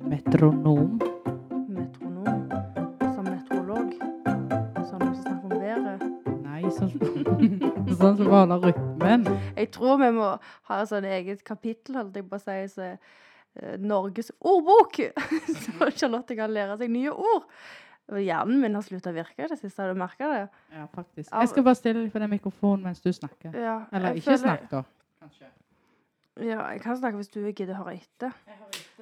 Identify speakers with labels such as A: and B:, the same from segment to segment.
A: metronom.
B: Metronom. Som meteorolog. Sånn som snakker om været.
A: Nei, sånn, sånn som beholder rytmen.
B: Jeg tror vi må ha et sånn eget kapittel, holdt jeg på å si, så eh, Norges ordbok! så Charlotte kan lære seg nye ord. Og Hjernen min har slutta å virke i det siste, har du merka det?
A: Ja, faktisk.
B: Av-
A: Jeg skal bare stille deg på den mikrofonen mens du snakker.
B: Ja,
A: Eller
B: jeg
A: ikke
B: føler-
A: snakk, da. Kanskje.
B: Ja, jeg kan snakke hvis du gidder å høre etter.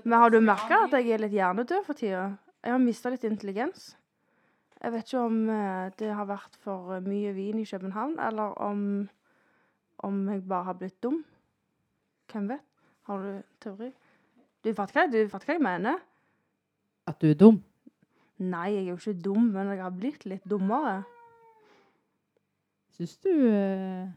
B: Men har du merka at jeg er litt hjernedød for tida? Jeg har mista litt intelligens. Jeg vet ikke om eh, det har vært for eh, mye vin i København, eller om, om jeg bare har blitt dum. Hvem vet? Har du teori? Du fatter hva, du fatter hva jeg mener?
A: At du er dum?
B: Nei, jeg er jo ikke dum, men jeg har blitt litt dummere.
A: Syns du eh,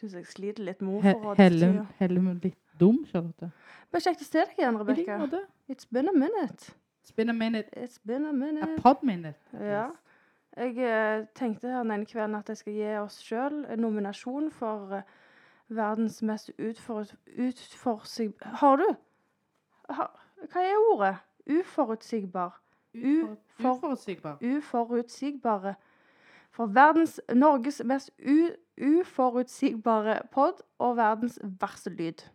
B: Syns jeg sliter litt med
A: he-
B: ordforrådet. til
A: Hellum
B: tider.
A: Hellum er litt dum, Charlotte?
B: Men kjekt å se deg igjen,
A: I like
B: Rebekka.
A: måte.
B: It's been a minute.
A: Spin a minute.
B: It's been a
A: A
B: minute.
A: pod minute.
B: Ja. Jeg eh, tenkte her den ene kvelden at jeg skal gi oss sjøl en nominasjon for eh, verdens mest utfor- utforutsig... Har du? Ha, hva er ordet? Uforutsigbar. U- for-
A: Uforutsigbar.
B: Uforutsigbare. For verdens Norges mest u, uforutsigbare pod og verdens verste lyd.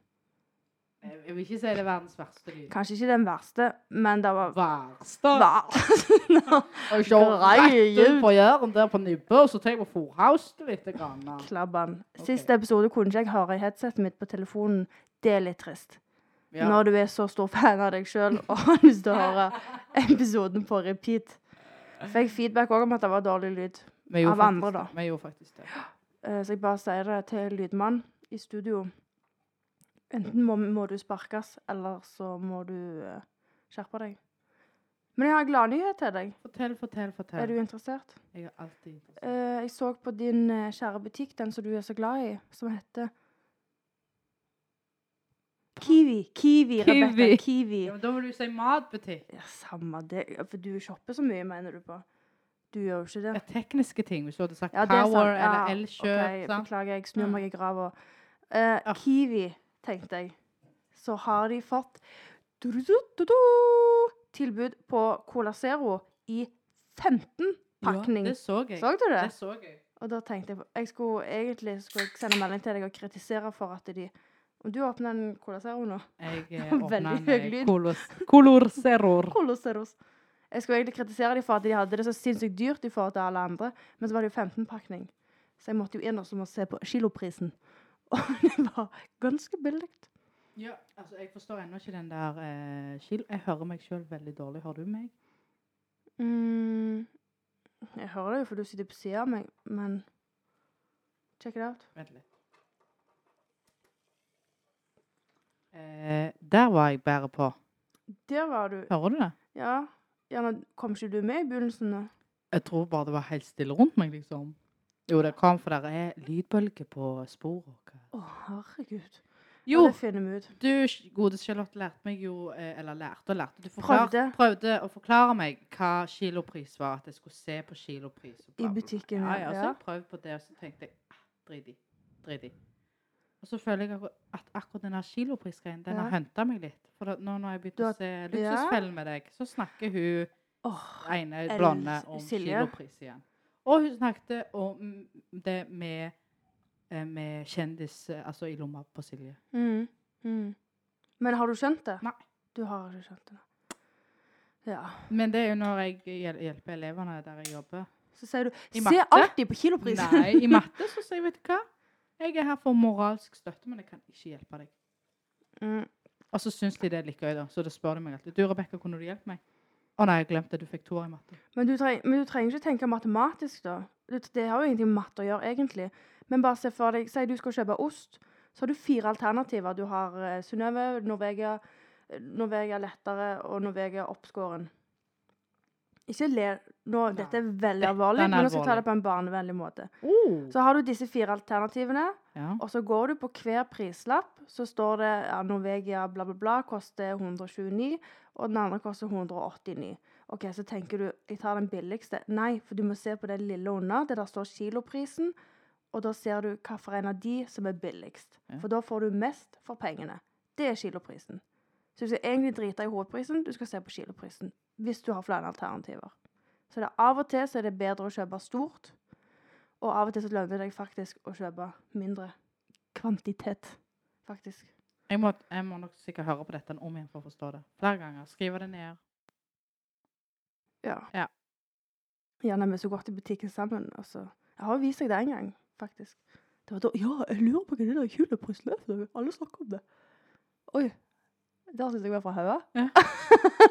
A: Jeg jeg vil ikke si det er verdens verste lyd.
B: Kanskje ikke den verste, men det var
A: Verste!
B: Hva?
A: Og så rett ut
B: Greie.
A: på Jæren der på Nibbe, og så tar jeg på fòrhausten litt. Grann.
B: Klabban.
A: Ok.
B: Siste episode kunne ikke jeg høre i headsetet mitt på telefonen. Det er litt trist.
A: Ja.
B: Når du er så stor fan av deg sjøl og har lyst til å høre episoden på repeat. Fikk feedback òg om at det var dårlig lyd.
A: Vi gjorde
B: av andre,
A: faktisk det. Vi gjorde faktisk det.
B: Eh, Så jeg bare sier det til lydmann i studio. Enten må, må du sparkes, eller så må du eh, skjerpe deg. Men jeg har en gladnyhet til deg.
A: Fortell, fortell, fortell.
B: Er du interessert?
A: Jeg er alltid interessert.
B: Eh, Jeg så på din eh, kjære butikk, den som du er så glad i, som heter Kiwi. Kiwi, Rebekka.
A: Kiwi.
B: Kiwi.
A: Ja, men da må du si matbutikk.
B: Ja, samme det. Ja, For du shopper så mye, mener du på? Du gjør jo ikke
A: Det
B: det.
A: er tekniske ting. Hvis du hadde sagt
B: Ja, det er sant.
A: Power
B: Ja,
A: eller Elkjøp.
B: ok,
A: sant?
B: Beklager, jeg snur
A: Mm.
B: meg i grava. Eh,
A: Ja.
B: Kiwi, tenkte jeg. Så har de fått du-du-du-du-du tilbud på Cola Zero i 15 pakning.
A: Ja, det så jeg.
B: Så du det?
A: Det så jeg.
B: Og da tenkte jeg på Jeg skulle egentlig skulle jeg sende melding til deg og kritisere for at de Om du åpner en Cola Zero nå
A: Jeg eh,
B: Veldig
A: åpna
B: høy
A: en
B: lyd.
A: kolorseror.
B: Cola Zeros. Jeg skulle egentlig kritisere dem for at de hadde det så sinnssykt dyrt i forhold til alle andre, men så var det jo 15-pakning. Så jeg måtte jo inn og så må jeg se på kiloprisen. Og det var ganske billig.
A: Ja, altså, jeg forstår ennå ikke den der eh, skil... Jeg hører meg sjøl veldig dårlig. Har du meg?
B: Mm, jeg hører det jo, for du sitter på siden av meg, men Check it out.
A: Vent litt. Eh, der var jeg bedre på.
B: Der var du.
A: Hører du det?
B: Ja. Gjerne kom ikke du med i begynnelsen? da?
A: Jeg tror bare det var helt stille rundt meg, liksom. Jo, det kom, for det er lydbølge på sporet. og hva-
B: Å, herregud.
A: Jo,
B: Ja, det finner vi ut.
A: du, gode Charlotte, lærte meg jo eh, Eller lærte og lærte. Du forklar,
B: Prøvde.
A: prøvde å forklare meg hva kilopris var. At jeg skulle se på kilopris. og bla,
B: I
A: bla, bla.
B: butikken,
A: Ja, altså. ja. Så
B: ja.
A: jeg prøvde på det, og så tenkte jeg ah, drit i. Drit i. Og så føler jeg akkur- at akkurat den her kiloprisgreien, den har
B: Ja.
A: hunta meg litt. For da, nå når jeg
B: Du
A: begynte
B: har-
A: å se Luksusfellen med deg, så snakker hun
B: Åh,
A: ene
B: Els-
A: blonde om
B: Ah, Silje.
A: kilopris igjen. Og hun snakket om det med, eh, med kjendis eh, altså i lomma på Silje.
B: Mm. Mm. Men har du skjønt det?
A: Nei.
B: Du har ikke skjønt det? nei. Ja.
A: Men det er jo når jeg hjel- hjelper elevene der jeg jobber.
B: Så sier du
A: I
B: 'se
A: matte?
B: alltid på kiloprisen'.
A: Nei, i matte så sier jeg, vet du hva? Jeg er her for moralsk støtte, men jeg kan ikke hjelpe deg.
B: Mm.
A: Og så syns de det er litt gøy, da. Så da spør de meg alltid. Du, Rebekka, kunne du hjelpe meg? Å nei, jeg glemte det. Du fikk to år i matte.
B: Men, du treng, men du trenger ikke tenke matematisk, da. Det, det har jo ingenting med matte å gjøre, egentlig. Men bare se for deg Si du skal kjøpe ost. Så har du fire alternativer. Du har eh, Synnøve, Norvegia, eh, Norvegia lettere og Norvegia oppskåren. Ikke le nå.
A: Nei.
B: Dette er veldig
A: Dette er
B: alvorlig, men nå skal jeg ta
A: alvorlig.
B: det på en barnevennlig måte.
A: Oh.
B: Så har du disse fire alternativene.
A: Ja.
B: Og så går du på hver prislapp, så står det ja, Norvegia bla, bla, bla koster 129, og den andre koster 189. OK, så tenker du jeg tar den billigste. Nei, for du må se på det lille under. Det der står kiloprisen. Og da ser du hvilken av de som er billigst.
A: Ja.
B: For da får du mest for pengene. Det er kiloprisen. Så du skal egentlig drite i hovedprisen, du skal se på kiloprisen. Hvis du har flere alternativer. Så det er av og til så er det bedre å kjøpe stort, og av og til så lønner det deg faktisk å kjøpe mindre kvantitet. Faktisk.
A: Jeg må, jeg må nok sikkert høre på dette om igjen for å forstå det. Flere ganger. Skrive det ned.
B: Ja.
A: Ja.
B: Ja, nei, men så gått i butikken sammen, og så Jeg har jo vist deg det en gang, faktisk. Det var da Ja, jeg lurer på hva det der kjøleprisløpet Alle snakker om det. Oi. Der syns jeg var fra hodet.
A: Ja.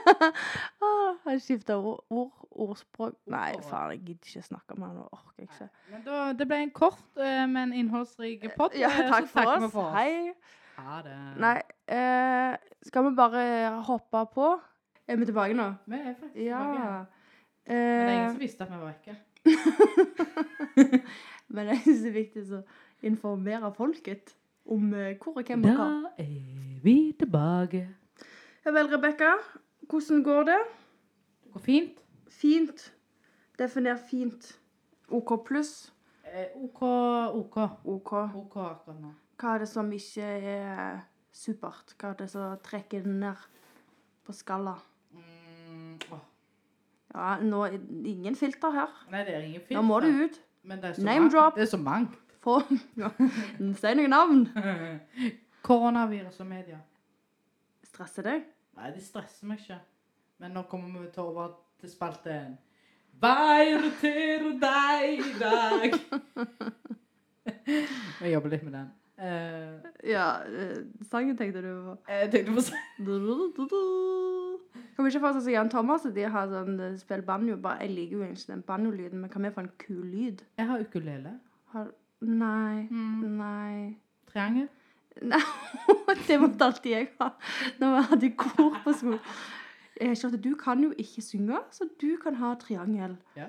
B: ah, jeg skifta ord, ord, ordspråk Nei,
A: Ordforråd.
B: faen, jeg gidder ikke snakke med han. Nå orker jeg ikke.
A: Men da, det ble en kort, eh, men innholdsrik pod.
B: Ja,
A: eh,
B: takk
A: så
B: for
A: vi
B: oss. Hei.
A: Ha det.
B: Nei, eh, skal vi bare hoppe på? Er vi tilbake nå?
A: Vi er faktisk tilbake. Men det
B: Ja.
A: er ingen
B: Eh,
A: som visste at vi var vekke.
B: men jeg syns det er viktig å informere folket om eh, hvor og hvem og hva.
A: er vi tilbake.
B: Ja vel, Rebekka. Hvordan går det?
A: Det går fint.
B: Fint. Definer fint. OK pluss.
A: Eh, OK, OK.
B: OK.
A: OK akkurat nå.
B: Hva er det som ikke er supert? Hva er det som trekker den ned på skala?
A: Mm, åh.
B: Ja, nå er ingen filter her.
A: Nei, det er ingen film.
B: Nå må du ut.
A: Men det er så
B: Name
A: mangt.
B: drop.
A: Det er så mangt.
B: Få Si noen navn.
A: Koronavirus og media.
B: Stresser deg?
A: Nei, det stresser meg ikke. Men nå kommer vi til over til spalten. Veien til deg i dag. Jeg jobber litt med den. Eh,
B: Ja, eh, sangen tenkte du på.
A: jeg tenkte på sånn. å si
B: Kan vi ikke forestille oss at Jan Thomas og de har sånn eh, spill banjo? Bare, jeg liker jo ikke den banjolyden, men hva med for en kul lyd?
A: Jeg har ukulele.
B: Har... Nei.
A: Mm.
B: Nei.
A: Triangel.
B: Nei, det måtte alltid jeg ha når vi hadde kor på skolen. Jeg har skjønt at Du kan jo ikke synge, så du kan ha triangel.
A: Ja.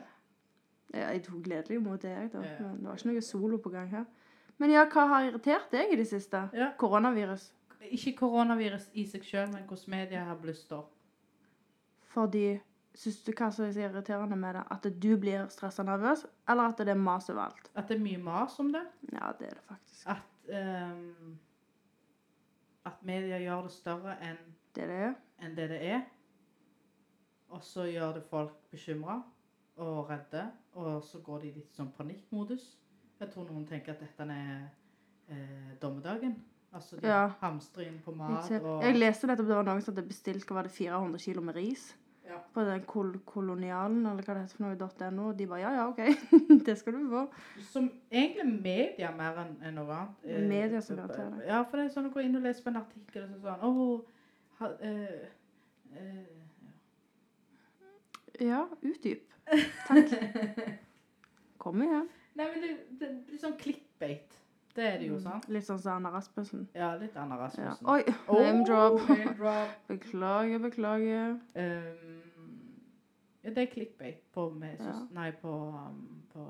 B: Ja, Jeg tok gledelig imot det, jeg, da.
A: Ja, ja.
B: Men det var ikke noe solo på gang her. Men ja, hva har irritert deg i det siste?
A: Ja.
B: Koronavirus.
A: Ikke koronavirus i seg sjøl, men hvordan media har blusset opp.
B: Fordi Syns du hva som er så irriterende med det? At du blir stressa nervøs, eller at det er mas overalt?
A: At det er mye mas om det.
B: Ja, det er det faktisk.
A: At ehm, At media gjør det større enn
B: Det er det jo.
A: enn det det er. Og så gjør det folk bekymra og redde, og så går de litt sånn panikkmodus. Jeg tror noen tenker at dette er eh, dommedagen. Altså de
B: Ja.
A: hamstrer inn på
B: Jeg
A: mat
B: ser-
A: og
B: Jeg leste nettopp det var noen som hadde bestilt hva var det, 400 kilo med ris.
A: Ja.
B: På den kol kolonialen, eller hva det heter for noe, .no. Og de bare ja, ja, OK. det skal du få.
A: Som egentlig media mer enn enn noe annet. eh,
B: Media som garanterer det.
A: Ja, for det er sånn å gå inn og lese på en artikkel og så sånn Åh, ha, eh, eh,
B: Ja, utdyp. Takk. Kom igjen.
A: Nei, men det, det blir sånn clickbait. Det er det jo, sant?
B: Litt sånn som Anna Rasmussen.
A: Ja, litt Anna
B: Ja.
A: Rasmussen.
B: Oi,
A: Åh,
B: name drop.
A: name drop.
B: Beklager, beklager.
A: Um, ja, det er clickbait på meg,
B: Ja.
A: søs- Nei, på, um, på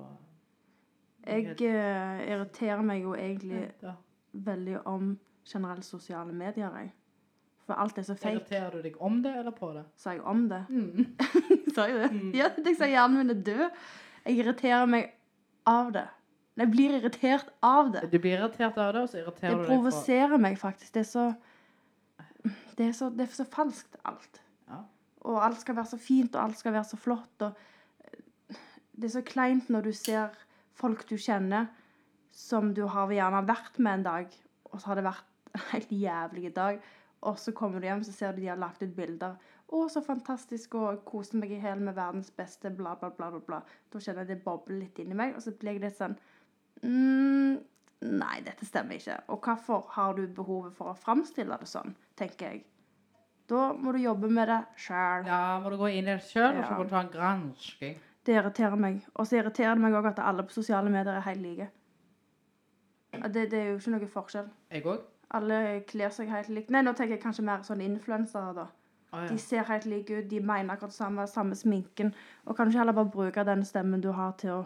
B: Jeg eh, irriterer meg jo egentlig
A: Ja.
B: veldig om generelle sosiale medier, jeg. For alt er så fake.
A: Irriterer du deg om det eller på det?
B: Sa jeg om det?
A: Mm.
B: Sa jeg det?
A: Mm.
B: Ja, jeg sa hjernen min er død. Jeg irriterer meg av det. Jeg blir irritert av det.
A: Du blir irritert av det, og så
B: Det
A: irriterer du deg på
B: provoserer meg faktisk. Det er så Det er så, det er så falskt, alt.
A: Ja.
B: Og alt skal være så fint, og alt skal være så flott, og Det er så kleint når du ser folk du kjenner, som du har gjerne vært med en dag, og så har det vært en helt jævlig dag, og så kommer du hjem, så ser du de har lagt ut bilder. 'Å, så fantastisk', og 'koser meg i hæl med verdens beste', bla, bla, bla, bla. bla. Da kjenner jeg det bobler litt inni meg, og så blir jeg litt sånn mm, Nei, dette stemmer ikke. Og hvorfor har du behovet for å framstille det sånn, tenker jeg. Da må du jobbe med det sjøl.
A: Ja, må du gå inn i det sjøl, og så
B: Ja.
A: må du ta en gransking.
B: Det irriterer meg. Og så irriterer det meg òg at alle på sosiale medier er helt like. Ja, Det, det er jo ikke noe forskjell.
A: Jeg òg?
B: Alle kler seg helt likt. Nei, nå tenker jeg kanskje mer sånn influensere, da.
A: Å ja.
B: De ser helt like ut, de mener akkurat det samme, samme sminken. Og kan du ikke heller bare bruke den stemmen du har til å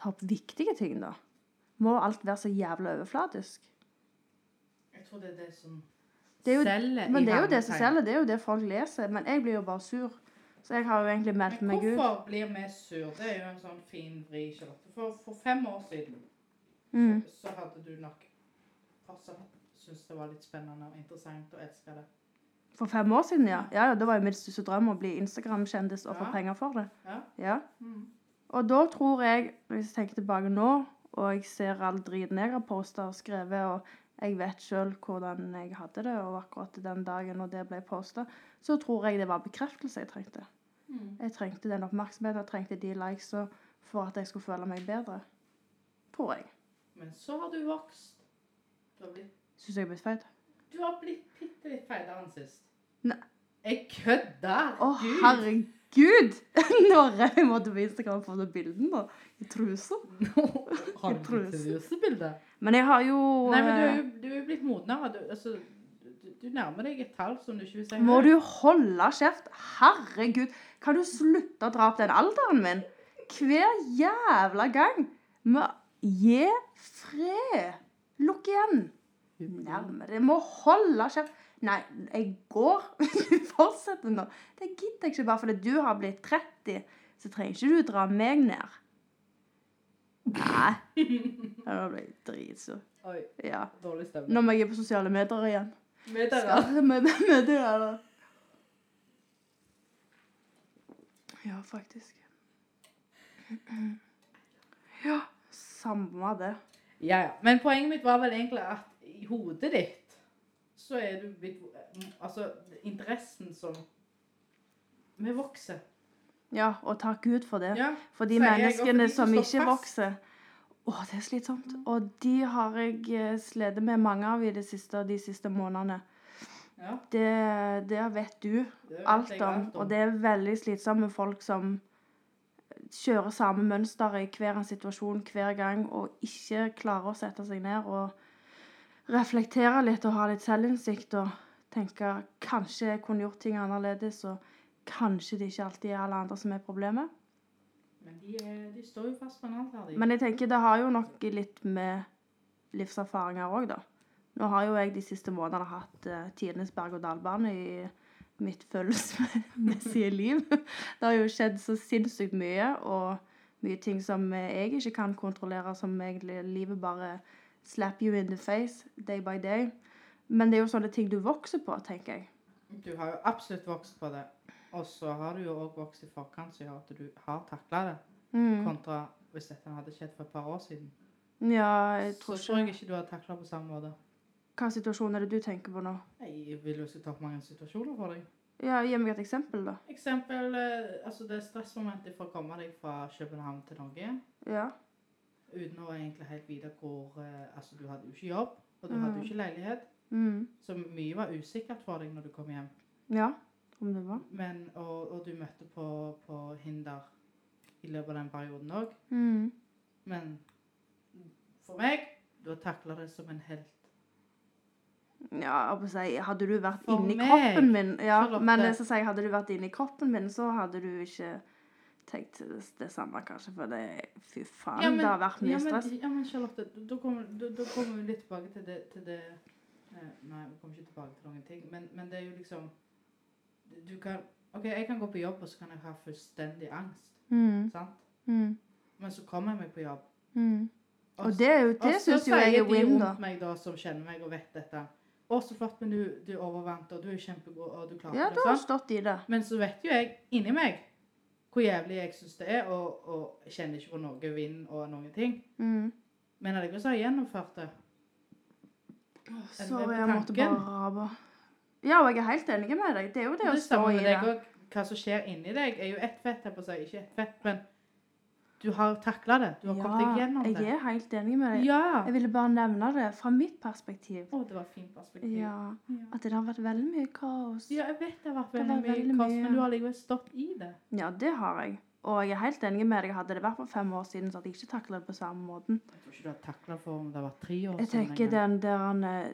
B: ta opp viktige ting, da? Må alt være så jævla overflatisk?
A: Jeg tror det er det som
B: Det er jo-
A: selger.
B: Men
A: i
B: det er jo det som
A: hermetegn.
B: selger, det er jo det folk leser. Men jeg blir jo bare sur. Så jeg har jo egentlig meldt
A: Men
B: meg ut.
A: hvorfor blir vi sur? Det er jo en sånn fin vri, Charlotte. For, for fem år siden
B: Mm.
A: så Altså, hadde du nok fortsatt syntes det var litt spennende og interessant og elska det.
B: For fem år siden, ja. ja, ja det var jo min største drøm å bli Instagram-kjendis og få
A: Ja.
B: penger for det.
A: Ja.
B: Ja.
A: Mm.
B: Og da tror jeg, hvis jeg tenker tilbake nå, og jeg ser all driten jeg har posta og skrevet, og jeg vet sjøl hvordan jeg hadde det, og akkurat den dagen når det ble posta, så tror jeg det var bekreftelse jeg trengte.
A: Mm.
B: Jeg trengte den oppmerksomheten, jeg trengte de likesa for at jeg skulle føle meg bedre. Tror jeg.
A: Men så har du vokst. Du har blitt,
B: Syns jeg er blitt feit.
A: du har blitt bitte litt feitere enn sist.
B: Nei.
A: Jeg kødder!
B: Å,
A: Gud.
B: herregud! Nå rev jeg måtte på Instagram for den bilden, da. I trusa.
A: Har du
B: Truls.
A: blitt seriøse bilder?
B: Men jeg har jo
A: Nei, men du er
B: eh,
A: jo, du er jo blitt modnere. Du, altså, du, du nærmer deg et tall som du ikke vil si
B: Må
A: høyt.
B: du holde kjeft? Herregud, kan du slutte å dra opp den alderen min? Hver jævla gang. Må gi fred. Lukk igjen. Nærmere. Må holde kjeft. Nei, jeg går. Fortsett nå. Det gidder jeg ikke. Bare fordi du har blitt 30, så trenger ikke du dra meg ned. Nei. Ja, Nå ble jeg dritsur.
A: Oi,
B: Ja.
A: dårlig stemning.
B: Nå må jeg på sosiale medier igjen.
A: Med dere.
B: Skal med, med det der. Ja, faktisk. Ja, samme det.
A: Ja, ja. Men poenget mitt var vel egentlig at i hodet ditt så er du blitt Altså, interessen som Vi vokser.
B: Ja, og takk Gud for det.
A: Ja.
B: For de
A: sier jeg, og for
B: menneskene
A: de som
B: som
A: står
B: ikke
A: fast.
B: vokser. Å, det er slitsomt. Og de har jeg eh, slitt med mange av i det siste, de siste månedene.
A: ja
B: Det, det vet du
A: det vet
B: alt
A: jeg
B: om. Og det er veldig slitsomt med folk som kjører samme mønster i hver en situasjon hver gang, og ikke klarer å sette seg ned og reflektere litt og ha litt selvinnsikt og tenke kanskje jeg kunne gjort ting annerledes, og kanskje det ikke alltid er alle andre som er problemet.
A: Men de, er, de står jo fast på en annen her, de.
B: Men jeg tenker det har jo nok litt med livserfaringer òg, da. Nå har jo jeg de siste månedene hatt uh, tidenes berg-og-dal-bane i mitt følelsesmessige liv. Det har jo skjedd så sinnssykt mye, og mye ting som eh, jeg ikke kan kontrollere, som egentlig livet bare slap you in the face day by day. Men det er jo sånne ting du vokser på, tenker jeg.
A: Du har jo absolutt vokst på det. Og så har du jo òg vokst i forkant, så gjør at du har takla det.
B: Mm.
A: Kontra hvis dette hadde skjedd for et par år siden.
B: Ja, jeg
A: Så
B: tror
A: tror
B: ikke
A: jeg ikke du hadde takla på samme måte.
B: Hva situasjon er det du tenker på nå?
A: Jeg vil jo ikke ta opp mange situasjoner for deg.
B: Ja, Gi meg et eksempel, da.
A: Eksempel eh, altså det stressmomentet for å komme deg fra København til Norge
B: Ja. hvor
A: uten å egentlig helt vite hvor eh, Altså, du hadde jo ikke jobb, og du hadde
B: Mm.
A: jo ikke leilighet,
B: Mm.
A: så mye var usikkert for deg når du kom hjem.
B: Ja, om det var.
A: Men, og, og du møtte på, på hinder i løpet av den perioden òg.
B: Mm.
A: Men for meg Du har takla det som en helt.
B: Ja, jeg holdt på å si, hadde du vært
A: For
B: inni
A: meg,
B: kroppen min ja,
A: Charlotte.
B: Men jeg skal si, hadde du vært inni kroppen min, så hadde du ikke tenkt det, det samme, kanskje. For det Fy faen, det har vært mye
A: ja, men,
B: stress.
A: ja, men Charlotte, da- da kommer da- da kommer vi litt tilbake til det, til det eh, Nei, vi kommer ikke tilbake til noen ting, men, men det er jo liksom Du kan OK, jeg kan gå på jobb, og så kan jeg ha fullstendig angst,
B: Mm,
A: sant?
B: mm,
A: Men så kommer jeg meg på jobb.
B: mm. Og det,
A: så-
B: er jo- det
A: og så
B: syns jo jeg
A: sier
B: er
A: de
B: win, da.
A: rundt meg da, som kjenner meg og vet dette. Å, så flott, men du, du overvant, og du er kjempegod, og du klarer
B: Ja,
A: det.
B: du har
A: sant?
B: stått i det.
A: Men så vet jo jeg inni meg hvor jævlig jeg syns det er, og, og jeg kjenner ikke på noe vind og noen ting.
B: Mm.
A: Men allikevel så har jeg gjennomført det.
B: Sorry,
A: på
B: jeg måtte bare
A: tanken?
B: rabe. Ja, og jeg er helt enig med deg. Det er jo det,
A: Det
B: å stå
A: samme
B: i
A: med
B: det.
A: deg òg. Hva som skjer inni deg, er jo ett fett. Jeg på å si. Ikke ett fett, men du har takla det. Du har kommet deg gjennom
B: jeg
A: det.
B: er helt enig med deg.
A: Ja!
B: Jeg ville bare nevne det fra mitt perspektiv.
A: Å, det var et fint perspektiv.
B: Ja,
A: Ja.
B: At det har vært veldig mye kaos.
A: Ja, jeg vet det har vært
B: Det
A: veldig
B: var
A: mye
B: veldig
A: kaos,
B: mye.
A: men du har likevel stått i det.
B: Ja, det har jeg. Og jeg er helt enig med deg. Hadde det vært for fem år siden, så hadde jeg ikke takla det på samme måten.
A: Jeg tror ikke du har takla for om det var tre år
B: Jeg tenker den der eh,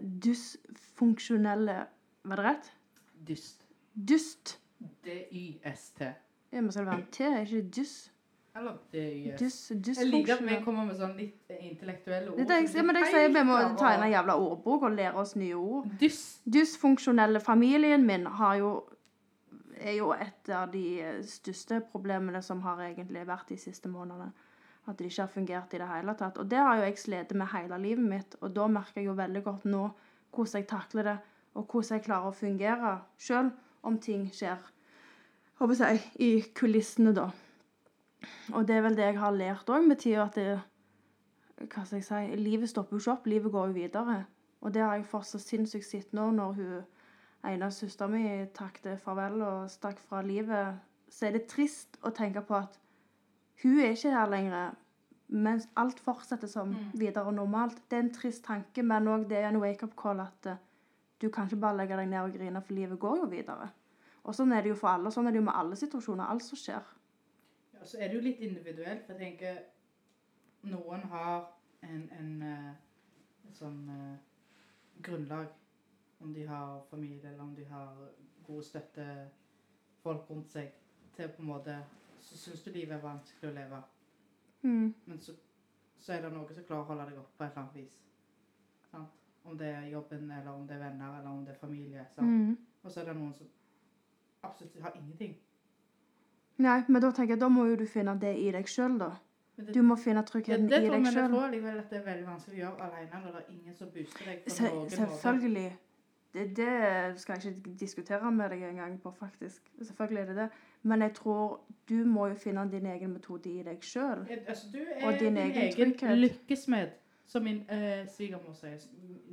B: dysfunksjonelle Var det rett?
A: Dyst.
B: Dyst.
A: D-y-s-t.
B: Ja, men skal det være en T? Er ikke det dys?
A: Eller d-y-s.
B: Dys,
A: Jeg liker at vi
B: dysfunksjonell.
A: kommer med sånn litt intellektuelle ord.
B: Det er det jeg, sier, men jeg sier vi må ta inn en jævla ordbok og lære oss nye ord.
A: Dyst.
B: Dysfunksjonelle familien min har jo er jo et av de største problemene som har egentlig vært de siste månedene. At det ikke har fungert i det hele tatt. Og det har jo jeg slitt med hele livet mitt, og da merker jeg jo veldig godt nå hvordan jeg takler det. og hvordan jeg klarer å fungere sjøl om ting skjer håper jeg, i kulissene, da. Og det er vel det jeg har lært òg med tida, at det, hva skal jeg si, livet stopper jo ikke opp, livet går jo videre. Og det har jeg fortsatt sinnssykt sett nå, når hun ene søstera mi takket farvel og stakk fra livet. Så er det trist å tenke på at hun er ikke her lenger, mens alt fortsetter som
A: Mm.
B: videre normalt. Det er en trist tanke, men òg det er en wake-up call at eh, du kan ikke bare legge deg ned og grine, for livet går jo videre. Og sånn er det jo for alle, og sånn er det jo med alle situasjoner, alt som skjer.
A: Ja, så er det jo litt individuelt. for Jeg tenker noen har en, en, eh, et sånn eh, grunnlag. Om de har familie, eller om de har gode støttefolk rundt seg. Til på en måte Så syns du livet er vanskelig å leve.
B: Mm.
A: Men så, så er det noe som klarer å holde deg oppe på et eller annet vis. Sant? Om det er jobben, eller om det er venner, eller om det er familie. Sant?
B: Mm.
A: Og så er det noen som absolutt har ingenting.
B: Nei, men da tenker jeg, da må jo du finne det i deg sjøl, da.
A: Men det-
B: Du må finne
A: Ja,
B: tryggheten
A: det
B: i
A: tror jeg,
B: deg
A: men jeg
B: sjøl.
A: tror likevel at det er veldig vanskelig å gjøre alene når det er ingen som booster deg. på
B: Se,
A: noen måte.
B: selvfølgelig. Det, det skal jeg ikke diskutere med deg engang på, faktisk. Selvfølgelig er det det. Men jeg tror du må jo finne din egen metode i deg sjøl.
A: Eh, Altså, du er
B: Og din
A: din
B: egen
A: egen,
B: trygghet.
A: lykkesmed, som min eh, svigermor sier. s-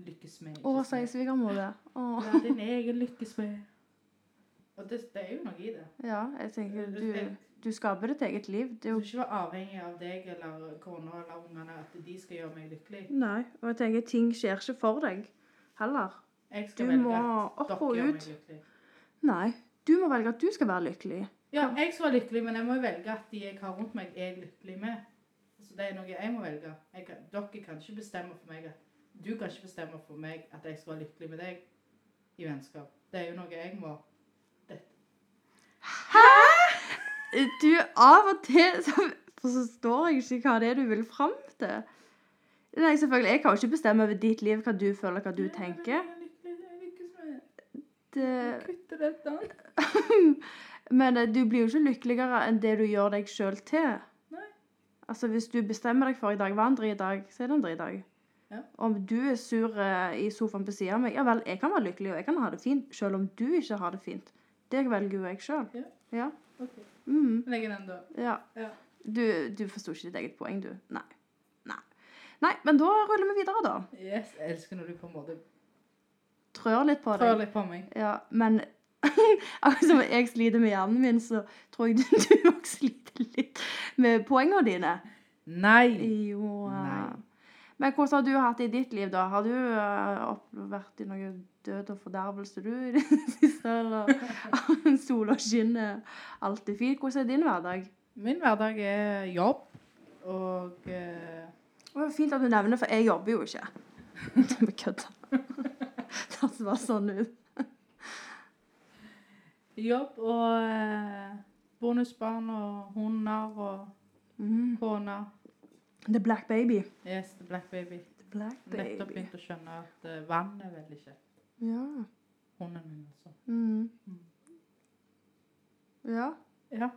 A: Lykkesmed.
B: Å,
A: ikke smed.
B: sier svigermor det. Å.
A: Ja, din egen lykkesmed. Og det, det er jo noe i det.
B: Ja, jeg tenker
A: Du-
B: du, du skaper ditt eget liv. Det
A: Du
B: er
A: skal
B: jo
A: ikke være avhengig av deg eller kona eller ungene at de skal gjøre meg lykkelig.
B: Nei, og jeg tenker ting skjer ikke for deg heller.
A: Jeg
B: Du
A: skal
B: må
A: velge at
B: opp
A: dere
B: og
A: gjør
B: ut.
A: meg lykkelig.
B: Nei. Du må velge at du skal være lykkelig.
A: Ja, jeg skal være lykkelig, men jeg må jo velge at de jeg har rundt meg, er jeg lykkelig med. Så det er noe jeg må velge. Jeg kan, dere kan ikke bestemme for meg at Du kan ikke bestemme for meg at jeg skal være lykkelig med deg i vennskap. Det er jo noe jeg må.
B: Du, av og til så forstår jeg ikke hva det er du vil fram til. Nei, selvfølgelig, Jeg kan jo ikke bestemme over ditt liv hva du føler, hva du tenker. Det,
A: Kutte dette.
B: men eh, du blir jo ikke lykkeligere enn det du gjør deg sjøl til.
A: Nei.
B: Altså, Hvis du bestemmer deg for i dag var en dridag, så er det en dridag.
A: Ja.
B: Om du er sur eh, i sofaen ved siden av meg, ja vel, jeg kan være lykkelig og jeg kan ha det fint, selv om du ikke har det fint. Det velger jo jeg sjøl.
A: Ja.
B: Ja.
A: Ok,
B: Mm.
A: Legg den da.
B: Ja.
A: Ja.
B: Du, du forsto ikke ditt eget poeng, du. Nei. Nei. Nei, men da ruller vi videre, da.
A: Yes, jeg elsker når du på en måte
B: Trør litt på
A: trår
B: deg.
A: litt på meg.
B: Ja, men akkurat som jeg sliter med hjernen min, så tror jeg du du òg sliter litt med poengene dine.
A: Nei.
B: Jo eh,
A: Nei.
B: Men hvordan har du hatt det i ditt liv, da? Har du eh, opp- vært i noe død og fordervelse, du, i det siste? Eller sol og skinner, alt er fint? Hvordan er din hverdag?
A: Min hverdag er jobb og eh,
B: Det var fint at du nevner, for jeg jobber jo ikke. Du bare kødder. Det høres bare sånn ut.
A: jobb og eh, bonusbarn og hunder og
B: Mm.
A: kone.
B: The black baby.
A: Yes, the black baby.
B: The black
A: Nettopp
B: baby.
A: begynt å skjønne at eh, vann er veldig kjekt.
B: Ja.
A: Hunden min, altså.
B: Mm.
A: Mm.
B: Ja.
A: Ja.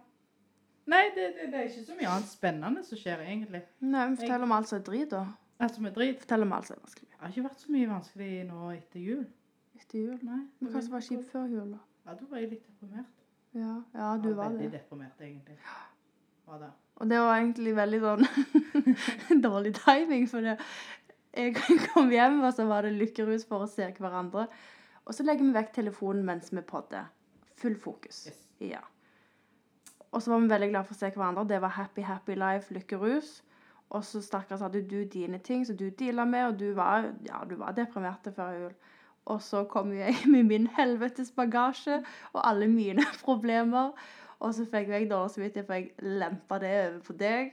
A: Nei, det, det, det er ikke så mye annet spennende som skjer, egentlig.
B: Nei, men fortell om alt som er drit, da.
A: Altså, med drit.
B: Fortell om alt som er vanskelig.
A: Det har ikke vært så mye vanskelig nå etter jul.
B: Etter jul.
A: Nei. det
B: Men hva som var
A: veldig
B: kjipt før jul, da?
A: godt. Ja, da var jeg litt deprimert.
B: Ja, ja du
A: Jeg
B: var
A: Veldig
B: det.
A: deprimert, egentlig. Var det.
B: Og det var egentlig veldig sånn dårlig timing, for det. jeg kom hjem, og så var det lykkerus for å se hverandre. Og så legger vi vekk telefonen mens vi podder. Full fokus.
A: Yes.
B: Ja. Og så var vi veldig glad for å se hverandre. Det var happy, happy life, lykkerus. Og så stakkars hadde du dine ting som du deala med, og du var, ja, du var deprimert til før jul. Og så kom jo jeg med min helvetes bagasje og alle mine problemer. Og så fikk jeg dårlig samvittighet, for jeg lempa det over på deg.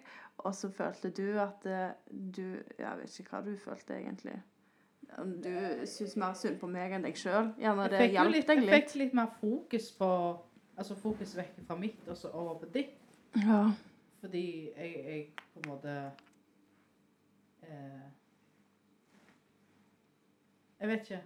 B: Og så følte du at eh, du Jeg vet ikke hva du følte, egentlig. Om Du syntes mer synd på meg enn deg sjøl. Gjerne det
A: Jeg fikk jo
B: hjalp
A: litt,
B: deg
A: jeg
B: litt.
A: fikk litt mer fokus på Altså fokus vekk fra mitt, og så over på ditt.
B: Ja.
A: Fordi jeg, jeg på en måte eh, Jeg vet ikke.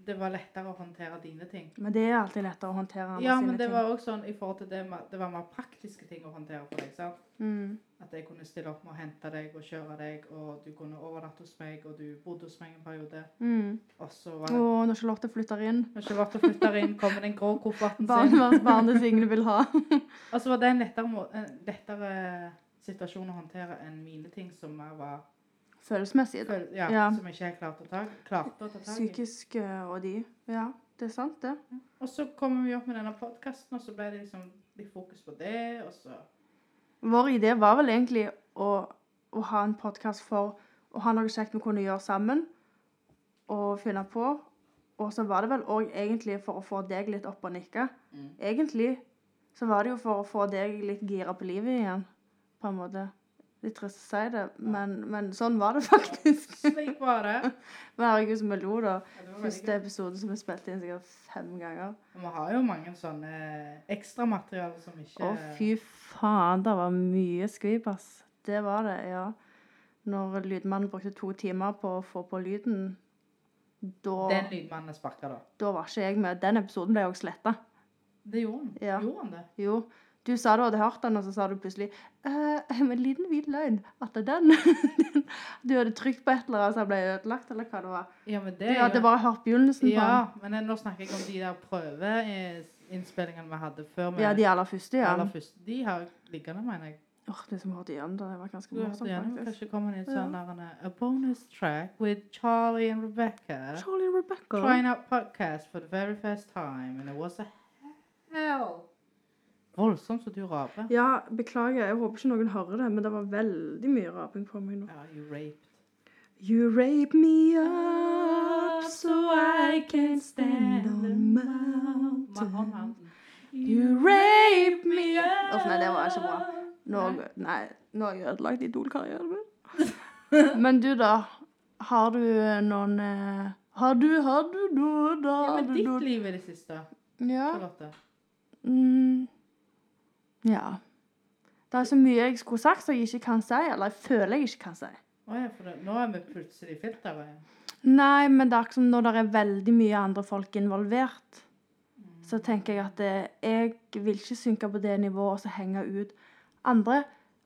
A: Det var lettere å håndtere dine ting.
B: Men det er alltid lettere å håndtere andre
A: Ja,
B: sine
A: men det
B: ting.
A: var også sånn i forhold til det med, det var mer praktiske ting å håndtere for deg. sant?
B: Mm.
A: At jeg kunne stille opp med å hente deg og kjøre deg, og du kunne overnatte hos meg, og du bodde hos meg en periode.
B: Mm.
A: Og og så var
B: Å,
A: det
B: når Charlotte flytter inn.
A: Når Charlotte flytter inn, kommer den grå kofferten sin.
B: Barnevernsbarnet Signe vil ha.
A: Og så var Altså, det en lettere, må- en lettere eh, situasjon å håndtere enn mine ting, som jeg var
B: Følelsesmessig. da.
A: føl- ja,
B: Ja.
A: som jeg ikke helt klarte å ta, klarte å ta tak i.
B: Psykisk ø, og de. Ja, det er sant, det.
A: Og så kommer vi opp med denne podkasten, og så ble det liksom litt fokus på det, og så
B: Vår idé var vel egentlig å, å ha en podkast for å ha noe kjekt vi kunne gjøre sammen og finne på. Og så var det vel òg egentlig for å få deg litt opp og nikke.
A: Mm.
B: Egentlig så var det jo for å få deg litt gira på livet igjen, på en måte. Litt trist å si det, men, men sånn var det faktisk.
A: Slik var det.
B: Men herregud, som vi lo, da.
A: Ja, det var veldig
B: Første episode som vi spilte inn sikkert fem ganger.
A: Og Vi har jo mange sånne ekstramaterialer som ikke
B: Å, fy faen, det var mye skvip, ass. Det var det, ja. Når lydmannen brukte to timer på å få på lyden, da,
A: Den lydmannen sparka, da.
B: da var ikke jeg med. Den episoden ble også sletta.
A: Det gjorde han.
B: Ja.
A: Gjorde han det?
B: Jo. Du sa du hadde hørt den, og så sa du plutselig eh, med liten hvit løgn at det er den. den Du hadde trykt på et eller annet, så den ble ødelagt, eller hva det var. sånn.
A: Ja, men det
B: Du
A: er
B: hadde
A: jo-
B: bare hørt begynnelsen på
A: Ja, men eh, nå snakker jeg om de der prøveinnspillingene vi hadde før.
B: den.
A: vi-
B: Ja, de aller første, ja.
A: aller første. De har jeg liggende, mener jeg.
B: Åh, det som hørte igjen, da. Det var ganske
A: Du hørte
B: morsomt,
A: igjen,
B: faktisk.
A: kanskje kommer det en
B: Ja.
A: sånn der en, A bonus track with Charlie and Rebecca.
B: Charlie and Rebecca.
A: Trying out podcast for the very first time. And it was a hell. Voldsomt som du raper.
B: Ja, beklager. Jeg håper ikke noen hører det, men det var veldig mye raping på meg nå.
A: Ja, you raped.
B: You rape me up so I can stand on
A: My own
B: mountain.
A: mountain.
B: You rape me up Uff, nei, det var ikke bra. Nå,
A: Nei.
B: nei, nå har jeg ødelagt idolkarrieren min. Men du, da? Har du noen eh, Har du, har du noe, da?
A: Ja,
B: har
A: men
B: du
A: ditt
B: noe-
A: liv er det siste,
B: Ja.
A: Charlotte.
B: Mm. Ja. Det er så mye jeg skulle sagt som jeg ikke kan si, eller jeg føler jeg ikke kan si.
A: Å ja, for det, nå er vi plutselig i filteret igjen.
B: Nei, men det er ikke som når det er veldig mye andre folk involvert, så
A: Mm.
B: tenker jeg at eh, jeg vil ikke synke på det nivået og så henge ut andre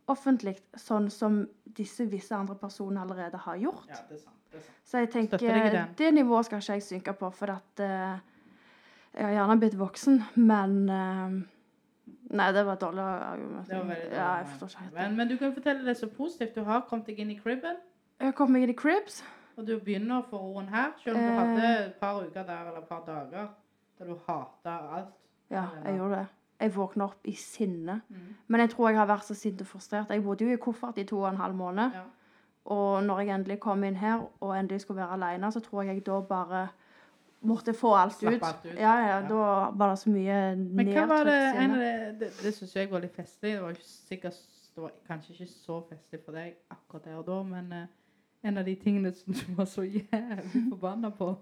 B: offentlig, sånn som disse visse andre personene allerede har gjort.
A: Ja, det er sant. Det er sant.
B: Så jeg tenker,
A: Støtter deg i den.
B: det nivået skal ikke jeg synke på, for at eh, jeg har gjerne blitt voksen, men eh, Nei, det var et dårlig argument.
A: Det var veldig
B: Ja,
A: dårlig.
B: jeg forstår ikke helt.
A: Men, men du kan fortelle det så positivt. Du har kommet deg inn i cribben,
B: Jeg kom meg inn i cribs.
A: og du begynner å få roen her, selv om du
B: Eh.
A: hadde et par uker der eller et par dager der du hata alt.
B: Ja, jeg gjorde det. Jeg våkna opp i sinne.
A: Mm.
B: Men jeg tror jeg har vært så sint og frustrert. Jeg bodde jo i koffert i to og en halv måned.
A: Ja.
B: Og når jeg endelig kom inn her, og endelig skulle være alene, så tror jeg jeg da bare måtte få alt
A: Slappe
B: ut.
A: alt ut.
B: Ja, ja,
A: Ja.
B: da var det så mye
A: Men hva var det
B: nedtrykt
A: en av
B: sinne.
A: det, det, det syns jeg var litt festlig. Det var, ikke sikkert, det var kanskje ikke så festlig for deg akkurat der og da, men eh, en av de tingene som du var så jævlig forbanna på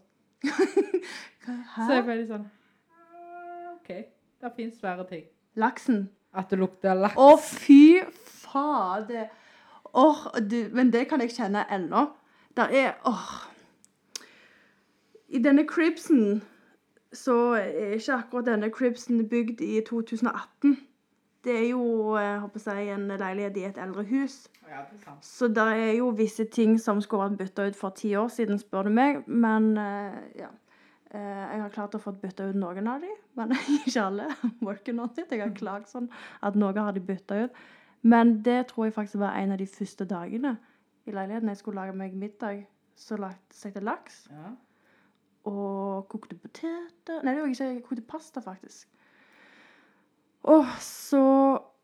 A: Så
B: Hæ?
A: jeg ble litt sånn «Ah, OK, det fins svære ting.
B: Laksen.
A: At det lukter laks.
B: Å, fy fader. Åh, du, men det kan jeg kjenne ennå. Der er åh. I denne cribsen så er ikke akkurat denne cribsen bygd i 2018. Det er jo eh, håper jeg, en leilighet i et eldre hus.
A: Ja, det er sant.
B: Så det er jo visse ting som skulle vært bytta ut for ti år siden, spør du meg. Men eh, ja. Eh, jeg har klart å få bytta ut noen av de, men ikke alle. Working on it. Jeg har klagd sånn at noe har de bytta ut. Men det tror jeg faktisk var en av de første dagene i leiligheten. Jeg skulle lage meg middag, så lagde jeg til laks
A: Ja.
B: og kokte poteter Nei, det var ikke jeg kokte pasta, faktisk. Og så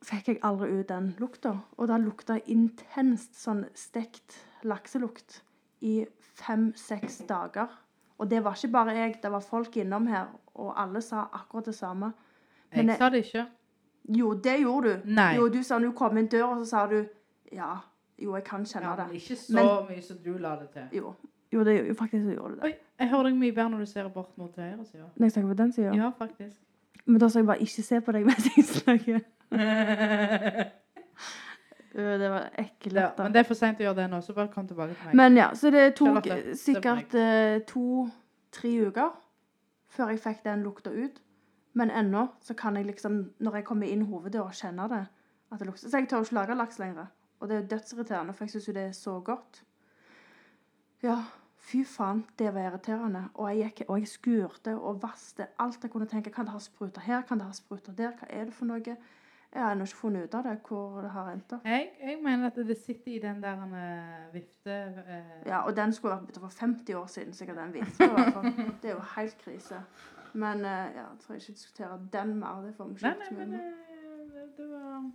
B: fikk jeg aldri ut den lukta. Og da lukta jeg intenst sånn stekt lakselukt i fem-seks dager. Og det var ikke bare jeg, det var folk innom her, og alle sa akkurat det samme. Men
A: Jeg
B: jeg-
A: sa det ikke.
B: Jo, det gjorde du.
A: Nei.
B: Jo, du sa når du kom inn døra, så sa du Ja, jo, jeg kan kjenne
A: Ja, men
B: det.
A: ikke så
B: Men-
A: mye som du la det til.
B: Jo. Jo, det gjorde jo faktisk så gjorde du det.
A: Oi, jeg hører deg mye bedre når du ser bort mot høyresida.
B: Når jeg snakker på den sida.
A: Ja, faktisk.
B: Men da sa jeg bare ikke se på deg mens jeg snakker. Øh, Det var ekkelt.
A: Ja,
B: da.
A: men det er for seint å gjøre det nå, så bare kom tilbake til meg.
B: Men ja, så det tok
A: Charlotte,
B: eh,
A: se på meg.
B: sikkert to-tre uker før jeg fikk den lukta ut. Men ennå så kan jeg liksom, når jeg kommer inn hoveddøra, kjenne det. At det lukter. Så jeg tør ikke lage laks lenger. Og det er dødsirriterende, for jeg syns jo det er så godt. Ja, Fy faen, det var irriterende. Og jeg gikk og jeg skurte og vaste alt jeg kunne tenke. Kan det ha spruter her? Kan det ha spruter der? Hva er det for noe? Jeg har ennå ikke funnet ut av det, hvor det har endt opp.
A: Jeg, jeg mener at det sitter i den der eh, vifte... eh,
B: Ja, og den skulle vært bytta for 50 år siden, sikkert den vifta. i hvert fall. Det er jo helt krise. Men eh, ja, jeg tror jeg ikke diskuterer den mer. Det får vi ikke
A: Nei,
B: gjort
A: nei,
B: så mye
A: men
B: med.
A: eh, det var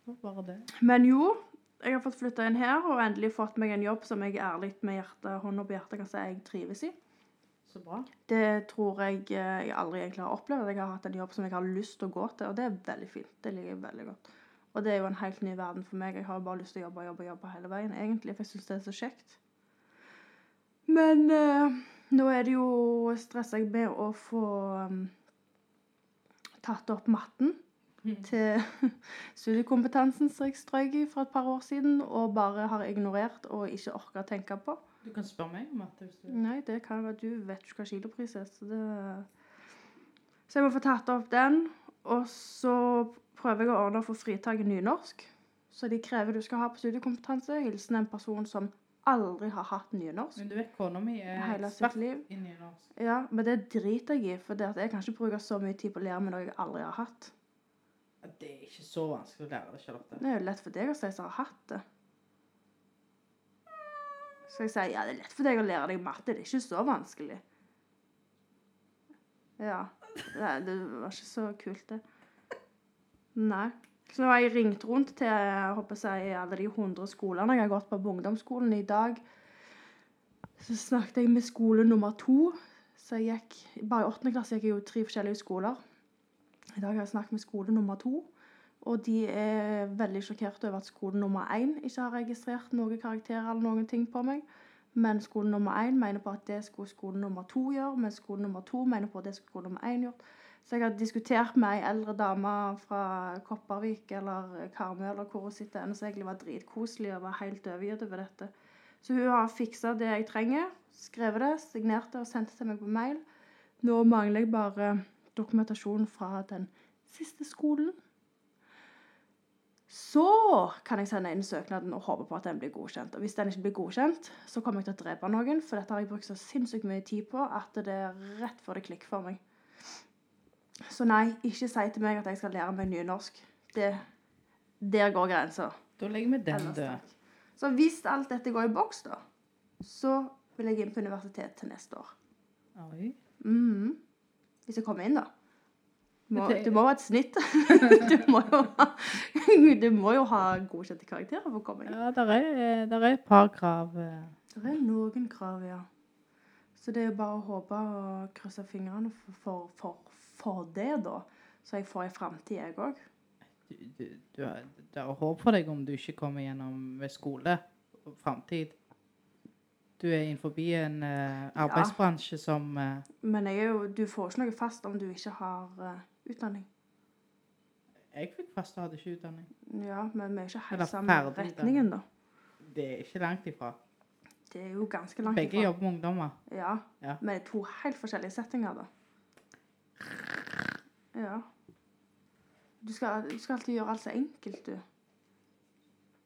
A: Det var bare det.
B: Men jo, jeg har fått flytta inn her og endelig fått meg en jobb som jeg ærlig med hjerte, hånda på hjertet kan si jeg trives i.
A: Så bra.
B: Det tror jeg eh, jeg aldri egentlig har opplevd. at Jeg har hatt en jobb som jeg har lyst til å gå til, og det er veldig fint. Det liker jeg veldig godt. Og det er jo en helt ny verden for meg. Jeg har jo bare lyst til å jobbe jobbe, jobbe hele veien, egentlig, for jeg syns det er så kjekt. Men eh, nå er det jo stresser jeg med å få um, tatt opp matten til studiekompetansen som jeg strøk i for et par år siden, og bare har ignorert og ikke orka å tenke på.
A: Du kan spørre meg om at hvis du
B: Nei, det kan være du vet ikke hva kilopris er, så det Så jeg må få tatt opp den, og så prøver jeg å ordne for fritak i nynorsk. Så de krever du skal ha på studiekompetanse. Hilsen en person som aldri har hatt nynorsk
A: Men du vet kona mi er
B: hele sitt
A: ekspert
B: liv.
A: i nynorsk.
B: Ja, men det driter jeg i, for det at jeg kan ikke bruke så mye tid på å lære meg noe jeg aldri har hatt.
A: Ja, Det er ikke så vanskelig å lære det, Charlotte.
B: Det er jo lett for deg å si som har hatt det. Skal jeg si ja, det er lett for deg å lære deg matte, det er ikke så vanskelig. Ja. Nei, det var ikke så kult, det. Nei. Så nå har jeg ringt rundt til jeg håper jeg, alle de 100 skolene jeg har gått på på ungdomsskolen i dag. Så snakket jeg med skole nummer to. Så jeg gikk, bare i åttende klasse gikk jeg jo tre forskjellige skoler. I dag har jeg snakket med skole nummer to. Og de er veldig sjokkert over at skole nummer én ikke har registrert noen karakterer eller noen ting på meg. Men skole nummer én mener på at det skulle skole nummer to gjøre. Men skole nummer to mener på at det skulle skole nummer én gjort. Så jeg har diskutert med ei eldre dame fra Kopervik eller Karmøy eller hvor hun sitter ennå, som egentlig var dritkoselig og var helt overgitt over dette. Så hun har fiksa det jeg trenger, skrevet det, signert det og sendt det til meg på mail. Nå mangler jeg bare dokumentasjon fra den siste skolen. Så kan jeg sende inn søknaden og håpe på at den blir godkjent. Og hvis den ikke blir godkjent, så kommer jeg til å drepe noen, for dette har jeg brukt så sinnssykt mye tid på at det er rett før det klikker for meg. Så nei, ikke si til meg at jeg skal lære meg nynorsk. Det, der går grensa.
A: Da legger vi den
B: Ellers
A: død.
B: takk. Så hvis alt dette går i boks, da, så vil jeg inn på universitet til neste år.
A: Oi.
B: Mhm. Hvis jeg kommer inn, da. Må,
A: Det-
B: det må være et snitt. du, må jo ha, du må jo ha godkjente karakterer for å komme inn.
A: Ja, der er, eh, der er et par krav. eh.
B: Det er noen krav, ja. Så det er jo bare å håpe og krysse fingrene for, for, for, for det, da. Så jeg får ei framtid, jeg òg.
A: Du, du, du har, det er håp for deg om du ikke kommer gjennom ved skole og framtid. Du er innenfor en eh, arbeidsbransje som eh,
B: Men jeg er jo, du får ikke noe fast om du ikke har eh, utdanning.
A: Jeg fikk fast og hadde ikke utdanning.
B: Ja, men vi er ikke
A: Eller
B: helt samme
A: ferdig utdanning.
B: retningen, da.
A: Det er ikke langt ifra.
B: Det er jo ganske langt
A: Begge jobber med ungdommer.
B: Ja,
A: Ja.
B: men det er to helt forskjellige settinger, da. Ja. Du skal, du skal alltid gjøre alt så enkelt, du.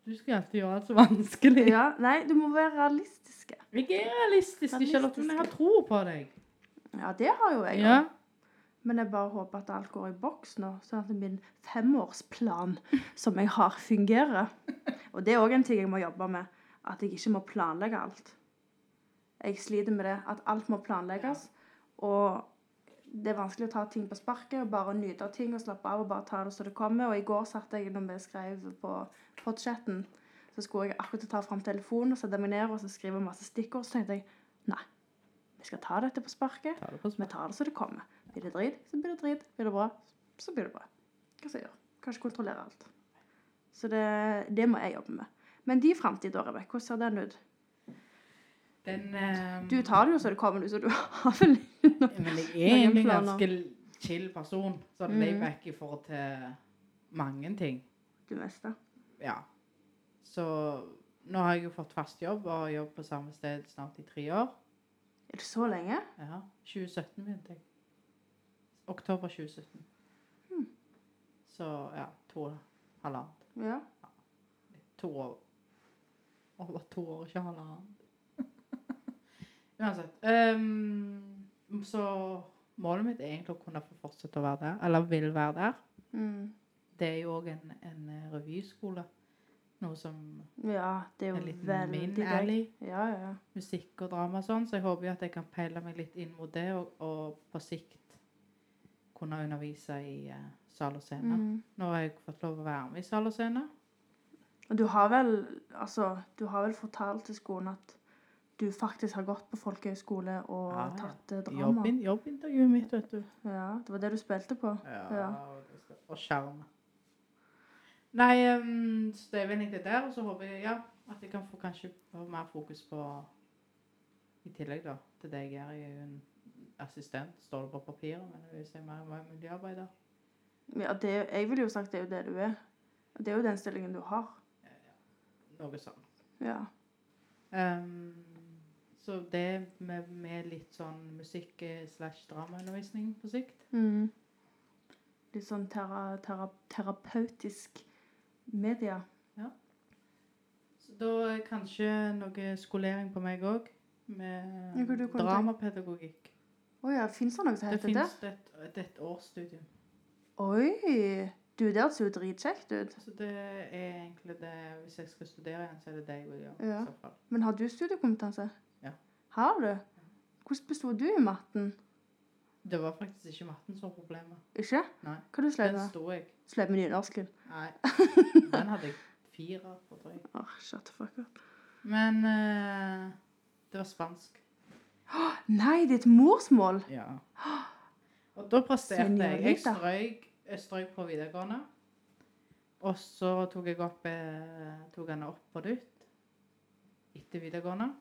A: Du skal alltid gjøre alt så vanskelig.
B: Ja, nei, du må være realistiske.
A: Jeg er realistisk, Charlotte, men jeg har tro på deg.
B: Ja, det har jo jeg.
A: Ja.
B: Men jeg bare håper at alt går i boks nå, sånn at min femårsplan som jeg har, fungerer. Og det er òg en ting jeg må jobbe med, at jeg ikke må planlegge alt. Jeg sliter med det, at alt må planlegges. Og det er vanskelig å ta ting på sparket og bare nyte av ting og slappe av og bare ta det som det kommer. Og i går satt jeg, når vi skrev på podchatten, så skulle jeg akkurat ta fram telefonen og sette meg ned og så skrive masse stikkord. Så tenkte jeg nei, vi skal ta dette på sparket.
A: Ta det på
B: Vi
A: smak.
B: sånn tar det så det kommer. Blir det drit, så blir det drit. Blir det bra, så blir det bra. Hva skal jeg gjøre? Kan ikke kontrollere alt. Så det, det må jeg jobbe med. Men din framtid, da, Rebekk, hvordan ser den ut?
A: Den eh,
B: Du tar det jo så det kommer, du, så du har vel
A: Men jeg
B: Noen
A: er egentlig en
B: planer.
A: ganske chill person. Sånn
B: Mhm.
A: layback i forhold til mange ting.
B: det meste.
A: Ja. Så nå har jeg jo fått fast jobb og har jobb på samme sted snart i tre år.
B: Er det så lenge?
A: Ja. 2017 begynte jeg. Oktober 2017.
B: Hmm.
A: Så ja, to og halvannet.
B: Ja.
A: To år. Over to år, ikke halvannet. Uansett. ehm, så målet mitt er egentlig å kunne få fortsette å være der, eller vil være der.
B: Mm.
A: Det er jo òg en, en eh, revyskole. Noe som
B: Ja, det er
A: er
B: jo
A: litt
B: veldig
A: min
B: gøy.
A: alley.
B: Ja, ja, ja.
A: Musikk og drama og sånn, så jeg håper jo at jeg kan peile meg litt inn mot det, og, og på sikt kunne undervise i eh, sal og scene.
B: Mm.
A: Nå har jeg fått lov å være med i sal og scene.
B: Og du har vel, altså, du har vel fortalt til skolen at du faktisk har gått på folkehøyskole og
A: Ja, ja.
B: tatt eh, drama?
A: Jobbin, jobbintervjuet mitt, vet du.
B: Ja, det var det du spilte på. Ja.
A: og det skal- Og skjerm. Nei, ehm, så det er vel egentlig der, og så håper jeg ja, at jeg kan få kanskje få mer fokus på I tillegg da, til det jeg gjør. Jeg er jo en assistent, står det på papiret, men jeg vil si mer om miljøarbeider.
B: Ja, det, er- jeg ville jo sagt det er jo det du er. Det er jo den stillingen du har.
A: Noe sånt.
B: Ja.
A: Ehm, så det med, med litt sånn musikk eh, slash dramaundervisning på sikt
B: Mm. Litt sånn tera, tera, terapeutisk media.
A: Så da er kanskje noe skolering på meg òg, med
B: Ja, hvor du kom til-
A: dramapedagogikk.
B: Å ja, fins det noe som
A: Det
B: heter det?
A: finnes det et, det er et årsstudium.
B: Oi! Du, det hørtes jo dritkjekt ut.
A: Så det er egentlig det Hvis jeg skal studere igjen, så er det det jeg vil gjøre.
B: Ja.
A: i så fall.
B: Men har du studiekompetanse?
A: Ja.
B: Har du? Hvordan besto du i matten?
A: Det var faktisk ikke matten som var problemet.
B: Ikke?
A: Nei.
B: Hva du sleit
A: Den
B: med?
A: sto jeg.
B: Sleit med nynorsken?
A: Nei. Den hadde jeg fire på, tror jeg.
B: Åh, shut the fuck up.
A: Men eh, det var spansk.
B: Nei, det er et morsmål!
A: Ja. Og da presterte jeg. Jeg
B: Senorita.
A: strøyk, jeg strøyk på videregående. Og så tok jeg opp eh, tok han opp på nytt etter videregående.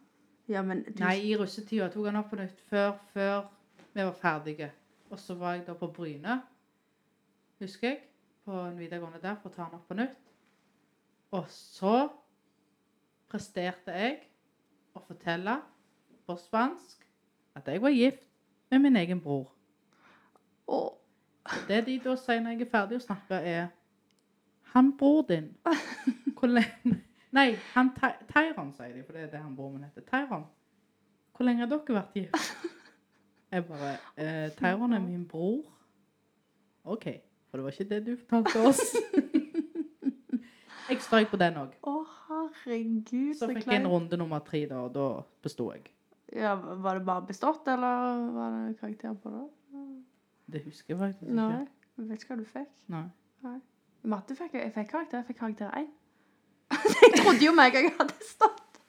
B: Ja, men du,
A: Nei, i russetida tok han opp på nytt før, før vi var ferdige. Og så var jeg da på Bryne, husker jeg, på en videregående der for å ta han opp på nytt. Og så presterte jeg å fortelle på spansk at jeg var gift med min egen bror.
B: Åh,
A: Og Det de da sier når jeg er ferdig å snakke, er Han bror din. Hvor lenge Nei, han Ty- Tyron, sier de, for det er det han bror min heter. Tyron. Hvor lenge har dere vært gift? Jeg bare eh, Tyron er min bror. OK. For det var ikke det du fortalte oss. Jeg strøk på den òg.
B: Å, herregud,
A: Så fikk jeg en runde nummer tre, da, og da besto jeg.
B: Ja, Var det bare bestått, eller var det karakter på det?
A: Det husker jeg faktisk ikke.
B: Nei. Jeg vet ikke hva du fikk.
A: Nei.
B: I matte fikk jeg, jeg fikk karakter. Jeg fikk karakter 1. jeg trodde jo meg jeg hadde stått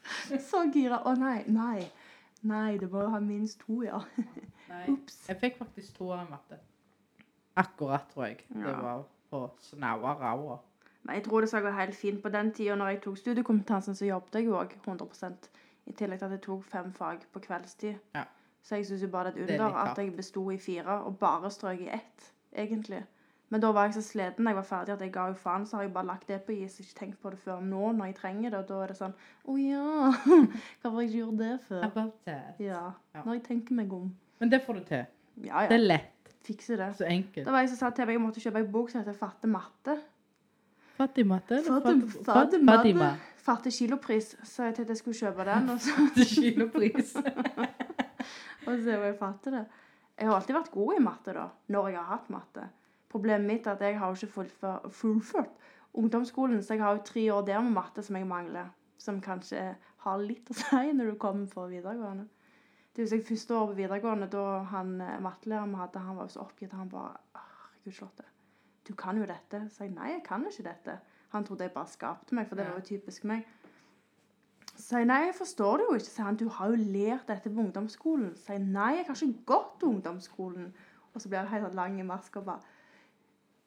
B: så gira. Å nei, nei. Nei, det må jo ha minst to, ja.
A: Nei.
B: Ops.
A: Jeg fikk faktisk to av matte. Akkurat, tror jeg. Det
B: Ja.
A: var på snaua raua.
B: Men jeg tror det skal gå helt fint. På den tida når jeg tok studiekompetansen, så jobbet jeg jo òg 100 I tillegg til at jeg tok fem fag på kveldstid.
A: Ja.
B: Så jeg syns jo bare det er
A: Det
B: et
A: er
B: under
A: litt
B: at jeg besto i fire, og bare strøk i ett, egentlig. Men da var jeg så sliten da jeg var ferdig at jeg ga jo faen. Så har jeg bare lagt det på is, ikke tenkt på det før nå når jeg trenger det. Og da er det sånn Å ja, hvorfor jeg ikke gjorde det før?
A: About that.
B: Ja.
A: Ja.
B: Når jeg tenker meg om.
A: Men det får du til.
B: Ja
A: Det
B: ja,
A: er lett.
B: fikser det.
A: Så enkelt.
B: Da var jeg som sa til meg jeg måtte kjøpe ei bok som heter Fatte matte.
A: Fatima til
B: Fatim- Fatima.
A: Fatima.
B: Fatte kilopris, så jeg tenkte jeg skulle kjøpe den. Og så,
A: Til kilopris.
B: og så var jeg fatte det. Jeg har alltid vært god i matte, da, når jeg har hatt matte. Problemet mitt er at jeg har jo ikke fullfør- fullført ungdomsskolen, så jeg har jo tre år der med matte som jeg mangler. Som kanskje har litt å si når du kommer på videregående. Det husker jeg første året på videregående, da han eh, mattelæreren vi hadde, han var jo så oppgitt. Han bare Herregud, Charlotte, du kan jo dette. Så jeg nei, jeg kan ikke dette. Han trodde jeg bare skapte meg, for det
A: Ja.
B: var jo typisk meg. Så jeg nei, jeg forstår det jo ikke, sier han. Du har jo lært dette på ungdomsskolen. Så jeg nei, jeg har ikke gått til ungdomsskolen. Og så blir han helt sånn lang i maska og bare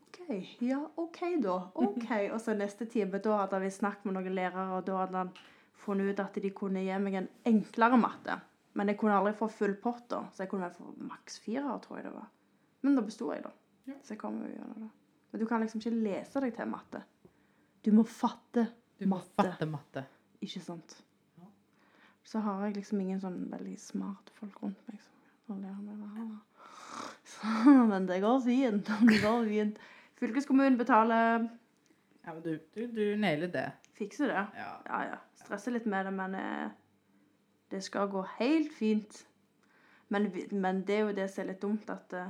B: OK, ja, OK da. OK. Og så neste time, da hadde vi snakket med noen lærere, og da hadde han funnet ut at de kunne gi meg en enklere matte. Men jeg kunne aldri få full pott, da. Så jeg kunne vel få maks fire, tror jeg det var. Men da besto jeg, da.
A: Ja.
B: Så jeg kom jo gjennom det. Men du kan liksom ikke lese deg til matte. Du må fatte,
A: Du må
B: Matte.
A: fatte matte.
B: ikke sant?
A: Ja.
B: Så har jeg liksom ingen sånn veldig smart folk rundt meg som som lærer meg hva han har. Så- Men det går fint. Det går fint. Fylkeskommunen betaler,
A: Ja, men du, du, du nailer det.
B: fikser det.
A: Ja.
B: Ja, ja. Stresser litt med det, men eh, Det skal gå helt fint. Men, vi- men det er jo det som er litt dumt, at eh,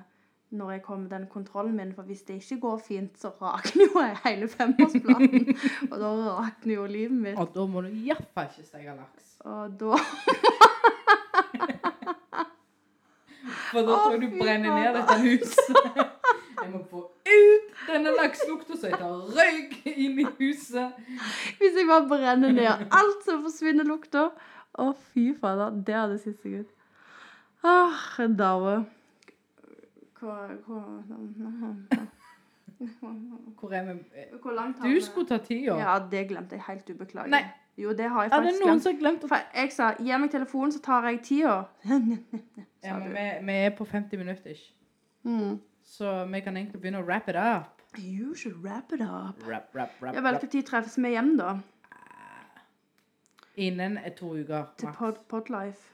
B: når jeg kommer med den kontrollen min For hvis det ikke går fint, så rakner jo jeg hele femårsplanen. og da rakner jo livet mitt.
A: Og da må du iallfall ikke steke laks.
B: Og da
A: For da
B: Å,
A: tror jeg du
B: fy
A: brenner ned
B: fader.
A: dette huset. Jeg må få ut denne lakselukta så jeg tar røyk inn i huset.
B: Hvis jeg bare brenner ned alt, så forsvinner lukta. Å, fy fader. Det hadde sett seg ut. Ah, daue. Hva, hva
A: Hvor er vi?
B: Hvor langt
A: Du skulle ta tida.
B: Ja, det glemte jeg helt ubeklagelig.
A: Nei.
B: Jo, det har jeg
A: Er det
B: faktisk
A: noen
B: glemt.
A: som har glemt å
B: For jeg sa 'gi meg telefonen, så tar jeg tida'.
A: ja,
B: sa
A: men
B: du.
A: vi, vi er på 50 minutter, ikke?
B: Mm.
A: Så vi kan egentlig begynne å wrap it up.
B: You should wrap it up.
A: Wrap, wrap, wrap,
B: Ja, vel,
A: wrap.
B: når tid treffes vi hjem, da?
A: Innen to uker.
B: Til
A: maks.
B: pod Podlife.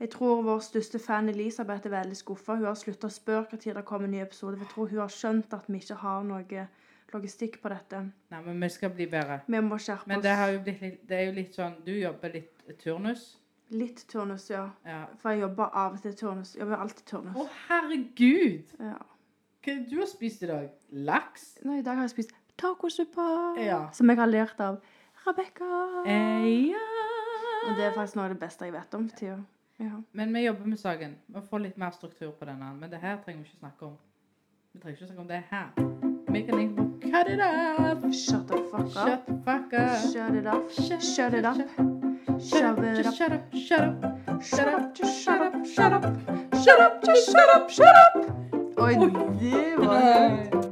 B: Jeg tror vår største fan Elisabeth er veldig skuffa. Hun har slutta å spørre når det kommer en ny episode. For jeg tror hun har skjønt at vi ikke har noe logistikk på dette.
A: Nei, men vi skal bli bedre.
B: Vi må skjerpe
A: Men det, har
B: oss.
A: jo blitt litt, det er jo litt sånn Du jobber litt turnus.
B: Litt turnus, ja.
A: Ja.
B: For jeg jobber av og til turnus. Jeg jobber alltid
A: Å,
B: turnus.
A: herregud!
B: Ja.
A: Hva er det du har spist i dag? Laks?
B: Nå, I dag har jeg spist tacosuppa,
A: Ja.
B: som jeg har lært av Rebekka.
A: Eh, ja.
B: Og det er faktisk noe av det beste jeg vet om for tida. Ja.
A: Men vi jobber med saken. Vi får litt mer struktur på denne. Men det her trenger vi ikke snakke om. Vi trenger ikke snakke om det her. Vi kan egentlig bare cut it up.
B: Shut the fuck up.
A: Shut the fuck up.
B: Shut it up. Shut it up.
A: Shut up.
B: Shove it
A: Just
B: up.
A: shut up. Shut up.
B: Shut up, just shut up, shut up. Shut up, just shut up, shut up. Oi, det var høyt.
A: Nei.